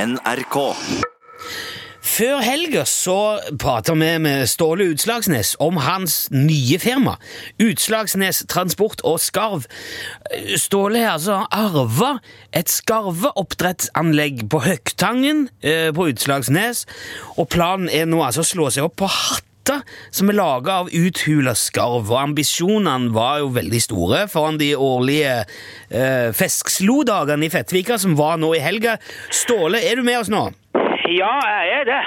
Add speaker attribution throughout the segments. Speaker 1: NRK.
Speaker 2: Før helga så prater vi med Ståle Utslagsnes om hans nye firma, Utslagsnes Transport og Skarv. Ståle har altså arva et skarveoppdrettsanlegg på Høgtangen eh, på Utslagsnes, og planen er nå altså å slå seg opp på hatter som er laga av uthula skarv, og ambisjonene var jo veldig store foran de årlige eh, Feskslo-dagene i Fettvika, som var nå i helga. Ståle, er du med oss nå?
Speaker 3: Ja, jeg er det.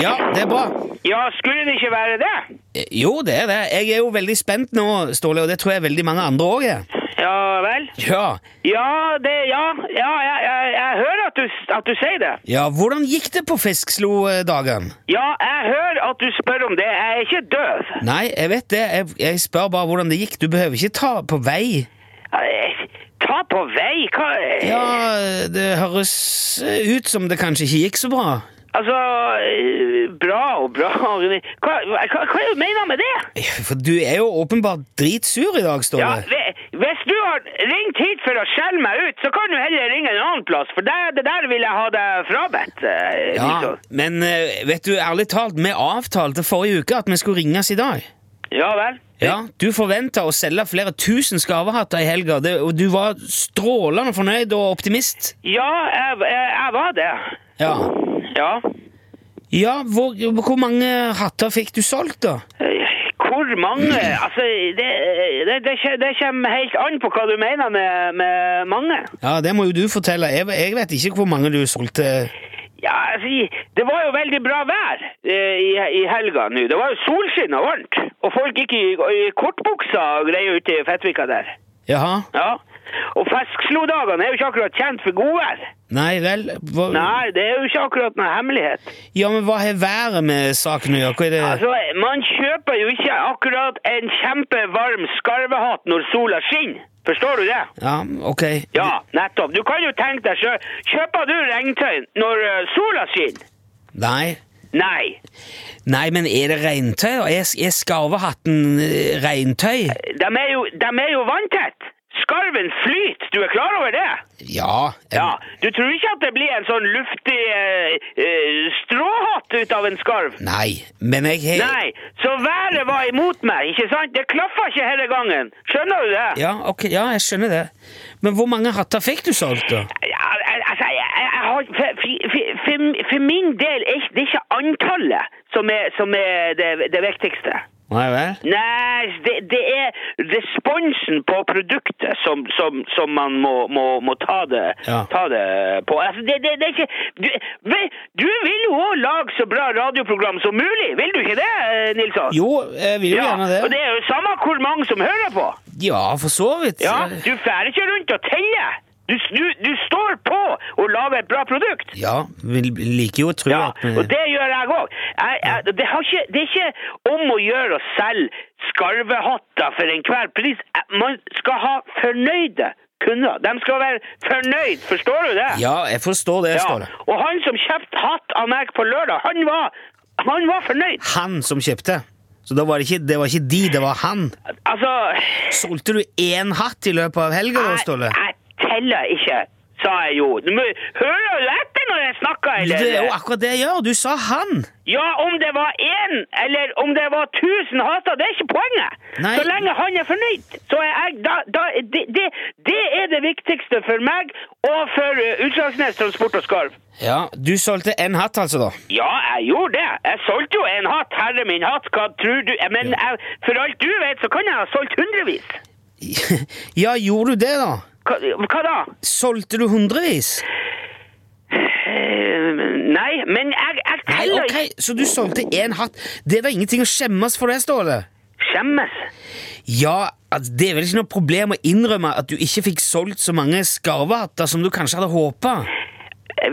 Speaker 2: Ja, det er bra.
Speaker 3: Ja, skulle det ikke være det?
Speaker 2: Eh, Jo, det er det. Jeg er jo veldig spent nå, Ståle, og det tror jeg veldig mange andre òg er.
Speaker 3: Ja vel?
Speaker 2: Ja.
Speaker 3: Ja, det Ja, ja jeg, jeg, jeg hører at du, at du sier det.
Speaker 2: ja, hvordan gikk det på Fiskslo-dagen?
Speaker 3: Ja, jeg hører at du spør om det. Jeg er ikke døv.
Speaker 2: Nei, jeg vet det. Jeg, jeg spør bare hvordan det gikk. Du behøver ikke ta på vei.
Speaker 3: Jeg- Ta på vei, hva
Speaker 2: Ja, det høres eh, ut som det kanskje ikke gikk så bra.
Speaker 3: Altså eh, Bra og bra Rune. Hva, hva, hva hva er det du mener med det?
Speaker 2: For du er jo åpenbart dritsur i dag,
Speaker 3: Ja,
Speaker 2: Ståle.
Speaker 3: ve- Hvis du har ringt hit for å skjelle meg ut, så kan du heller ringe en annen plass, for det, det der vil jeg ha deg frabedt. eh,
Speaker 2: Ja,
Speaker 3: Nilsson.
Speaker 2: men eh, vet du, ærlig talt, vi avtalte forrige uke at vi skulle ringes i dag.
Speaker 3: ja vel?
Speaker 2: Ja, Du forventa å selge flere tusen skarvehatter i helga, det- og du var strålende fornøyd og optimist.
Speaker 3: Ja, jeg, jeg, jeg var det.
Speaker 2: Ja,
Speaker 3: Ja.
Speaker 2: ja hvor, hvor mange hatter fikk du solgt, da?
Speaker 3: Eh, Hvor mange Altså, det, det, det, kje- det kommer helt an på hva du mener med, med mange.
Speaker 2: Ja, Det må jo du fortelle. Jeg, jeg vet ikke hvor mange du solgte.
Speaker 3: Ja, altså, Det var jo veldig bra vær eh, i, i helga nå. Det var jo solskinn og varmt. Og folk gikk i, i kortbuksa og greier ute i Fettvika der.
Speaker 2: Jaha?
Speaker 3: Ja. Og Feskslo-dagene er jo ikke akkurat kjent for godvær.
Speaker 2: Nei vel? Hva,
Speaker 3: Nei, det er jo ikke akkurat noen hemmelighet.
Speaker 2: Ja, men hva har været med saken å gjøre? Hva er det?
Speaker 3: Altså, Man kjøper jo ikke akkurat en kjempevarm skarvehatt når sola skinner. Forstår du det?
Speaker 2: Ja, ok.
Speaker 3: Ja, nettopp. Du kan jo tenke deg sjøl. Kjøper du regntøy når eh, sola skinner?
Speaker 2: Nei.
Speaker 3: Nei.
Speaker 2: Nei, men er det regntøy? Er, er skarvehatten eh, regntøy?
Speaker 3: De er jo, de er jo vanntett. Skarven flyter. Du er klar over det?
Speaker 2: Ja. en-
Speaker 3: Ja. Du tror ikke at det blir en sånn luftig eh, eh, stråhatt ut av en skarv?
Speaker 2: Nei, men jeg har
Speaker 3: Nei. Så været var imot meg, ikke sant? Det klaffa ikke hele gangen. Skjønner du det?
Speaker 2: Ja, ok, ja, jeg skjønner det. Men hvor mange hatter fikk du solgt, da?
Speaker 3: Ja, al- altså, jeg, jeg, jeg har, for, for- for, for min del er ikke- det er ikke antallet som er, som er det, det viktigste.
Speaker 2: Nei vel?
Speaker 3: Nei, det, det er responsen på produktet som, som, som man må, må, må ta, det,
Speaker 2: Ja.
Speaker 3: ta det på. Altså, det, det, det er ikke du, vel, du vil jo òg lage så bra radioprogram som mulig, vil du ikke det, eh, Nilsson?
Speaker 2: Jo, jeg vil jo
Speaker 3: ja, og
Speaker 2: gjerne
Speaker 3: det
Speaker 2: det.
Speaker 3: er jo samme hvor mange som hører på.
Speaker 2: Ja, for så vidt.
Speaker 3: Ja, Du fer ikke rundt og teller. Du, du, du står på og lager et bra produkt.
Speaker 2: Ja, vi liker jo å tro
Speaker 3: Ja,
Speaker 2: at vi-
Speaker 3: og det gjør jeg òg. Det, har ikke- det er ikke om å gjøre å selge skarvehatter for enhver pris. Eh, Man skal ha fornøyde kunder. De skal være fornøyd, forstår du det?
Speaker 2: Ja, jeg forstår det,
Speaker 3: Ja,
Speaker 2: Ståle.
Speaker 3: Og han som kjøpte hatt av meg på lørdag, han var, han var fornøyd.
Speaker 2: Han som kjøpte. Så da var det ikke, det var ikke de, det var han.
Speaker 3: Altså
Speaker 2: Solgte du én hatt i løpet av helga, da, Ståle?
Speaker 3: Jeg, jeg teller ikke, sa jeg jo. Du må høre og lette når jeg snakker, eller?
Speaker 2: Det er jo akkurat det jeg gjør. Du sa han.
Speaker 3: Ja, om det var én eller om det var tusen hater, det er ikke poenget.
Speaker 2: Nei.
Speaker 3: Så lenge han er fornøyd, så er jeg da, da, det, det, det er det viktigste for meg og for eh, Utslagsnes Transport og Skarv.
Speaker 2: Ja, du solgte én hatt, altså, da.
Speaker 3: Ja, jeg gjorde det. Jeg solgte jo en hatt. Herre min hatt, hva tror du Eh, Men jeg, for alt du vet, så kan jeg ha solgt hundrevis.
Speaker 2: Ja, gjorde du det, da?
Speaker 3: Hva, hva da?
Speaker 2: Solgte du hundrevis?
Speaker 3: Eh, nei, men jeg, jeg
Speaker 2: Nei,
Speaker 3: teller
Speaker 2: ok, Så du solgte én hatt. Det er da ingenting å skjemmes for det, Ståle?
Speaker 3: ikke. Skjemmes.
Speaker 2: Ja, altså, det er vel ikke noe problem å innrømme at du ikke fikk solgt så mange skarvehatter som du kanskje hadde håpa.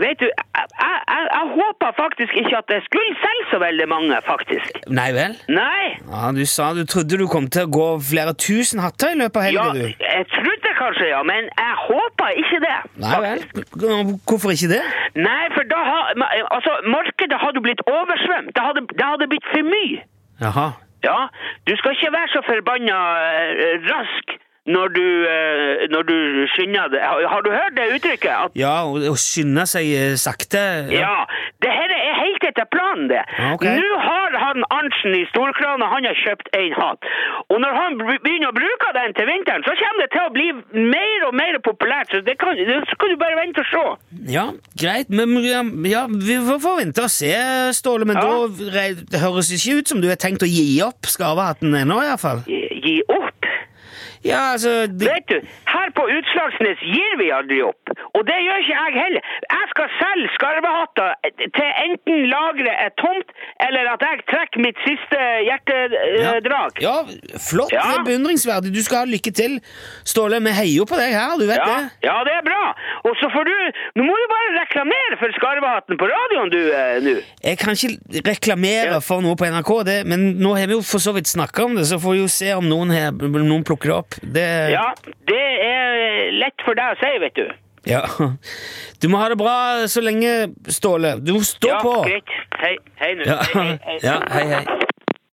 Speaker 3: Vet du, jeg, jeg, jeg, jeg håpa faktisk ikke at jeg skulle selge så veldig mange, faktisk.
Speaker 2: Nei vel?
Speaker 3: Nei.
Speaker 2: Ja, Du sa du trodde du kom til å gå flere tusen hatter i løpet av
Speaker 3: Ja,
Speaker 2: helga, du.
Speaker 3: jeg trodde kanskje, ja, men jeg håpa ikke det.
Speaker 2: Nei vel? K- Hvorfor ikke det?
Speaker 3: Nei, for da ha, ma- altså, markedet hadde blitt oversvømt. Det hadde, det hadde blitt for mye.
Speaker 2: Jaha.
Speaker 3: Ja, du skal ikke være så forbanna eh, rask når du, eh, når du skynder deg. Har, har du hørt det uttrykket? At
Speaker 2: Ja, å, å skynde seg eh, sakte.
Speaker 3: Ja, det her er helt etter planen, det.
Speaker 2: Ja, ok.
Speaker 3: Nå har han Arntzen i storkrana, han har kjøpt en hatt. Og når han br- begynner å bruke den til vinteren, så kommer det til å bli mer og mer populært. Så det kan, det skal du bare vente og se.
Speaker 2: Ja, greit, men ja, ja, vi får får vente og se, Ståle. Men
Speaker 3: Ja.
Speaker 2: da re- det høres ikke ut som du har tenkt å gi opp skarvehatten ennå, iallfall.
Speaker 3: Gi, gi opp.
Speaker 2: Ja, altså det,
Speaker 3: Vet du, her på Utslagsnes gir vi aldri opp. Og det gjør ikke jeg heller. Jeg skal selge skarvehatter til enten lageret er tomt, eller at jeg trekker mitt siste hjertedrag.
Speaker 2: ja, flott.
Speaker 3: eh, Ja.
Speaker 2: Beundringsverdig. Du skal ha lykke til, Ståle. Vi heier jo på deg her, du vet
Speaker 3: Ja,
Speaker 2: det.
Speaker 3: ja, det er bra. Og så får du Nå må du bare reklamere for Skarvehatten på radioen, du, eh, nå.
Speaker 2: Jeg kan ikke reklamere
Speaker 3: Ja.
Speaker 2: for noe på NRK, det, men nå har vi jo for så vidt snakka om det, så får vi jo se om noen, her, noen plukker det opp. Det,
Speaker 3: Ja, det er lett for deg å si, vet du.
Speaker 2: ja. Du må ha det bra så lenge, Ståle. Du må stå
Speaker 3: Ja,
Speaker 2: på.
Speaker 3: greit. Hei, hei nå.
Speaker 2: Ja. ja, hei, hei.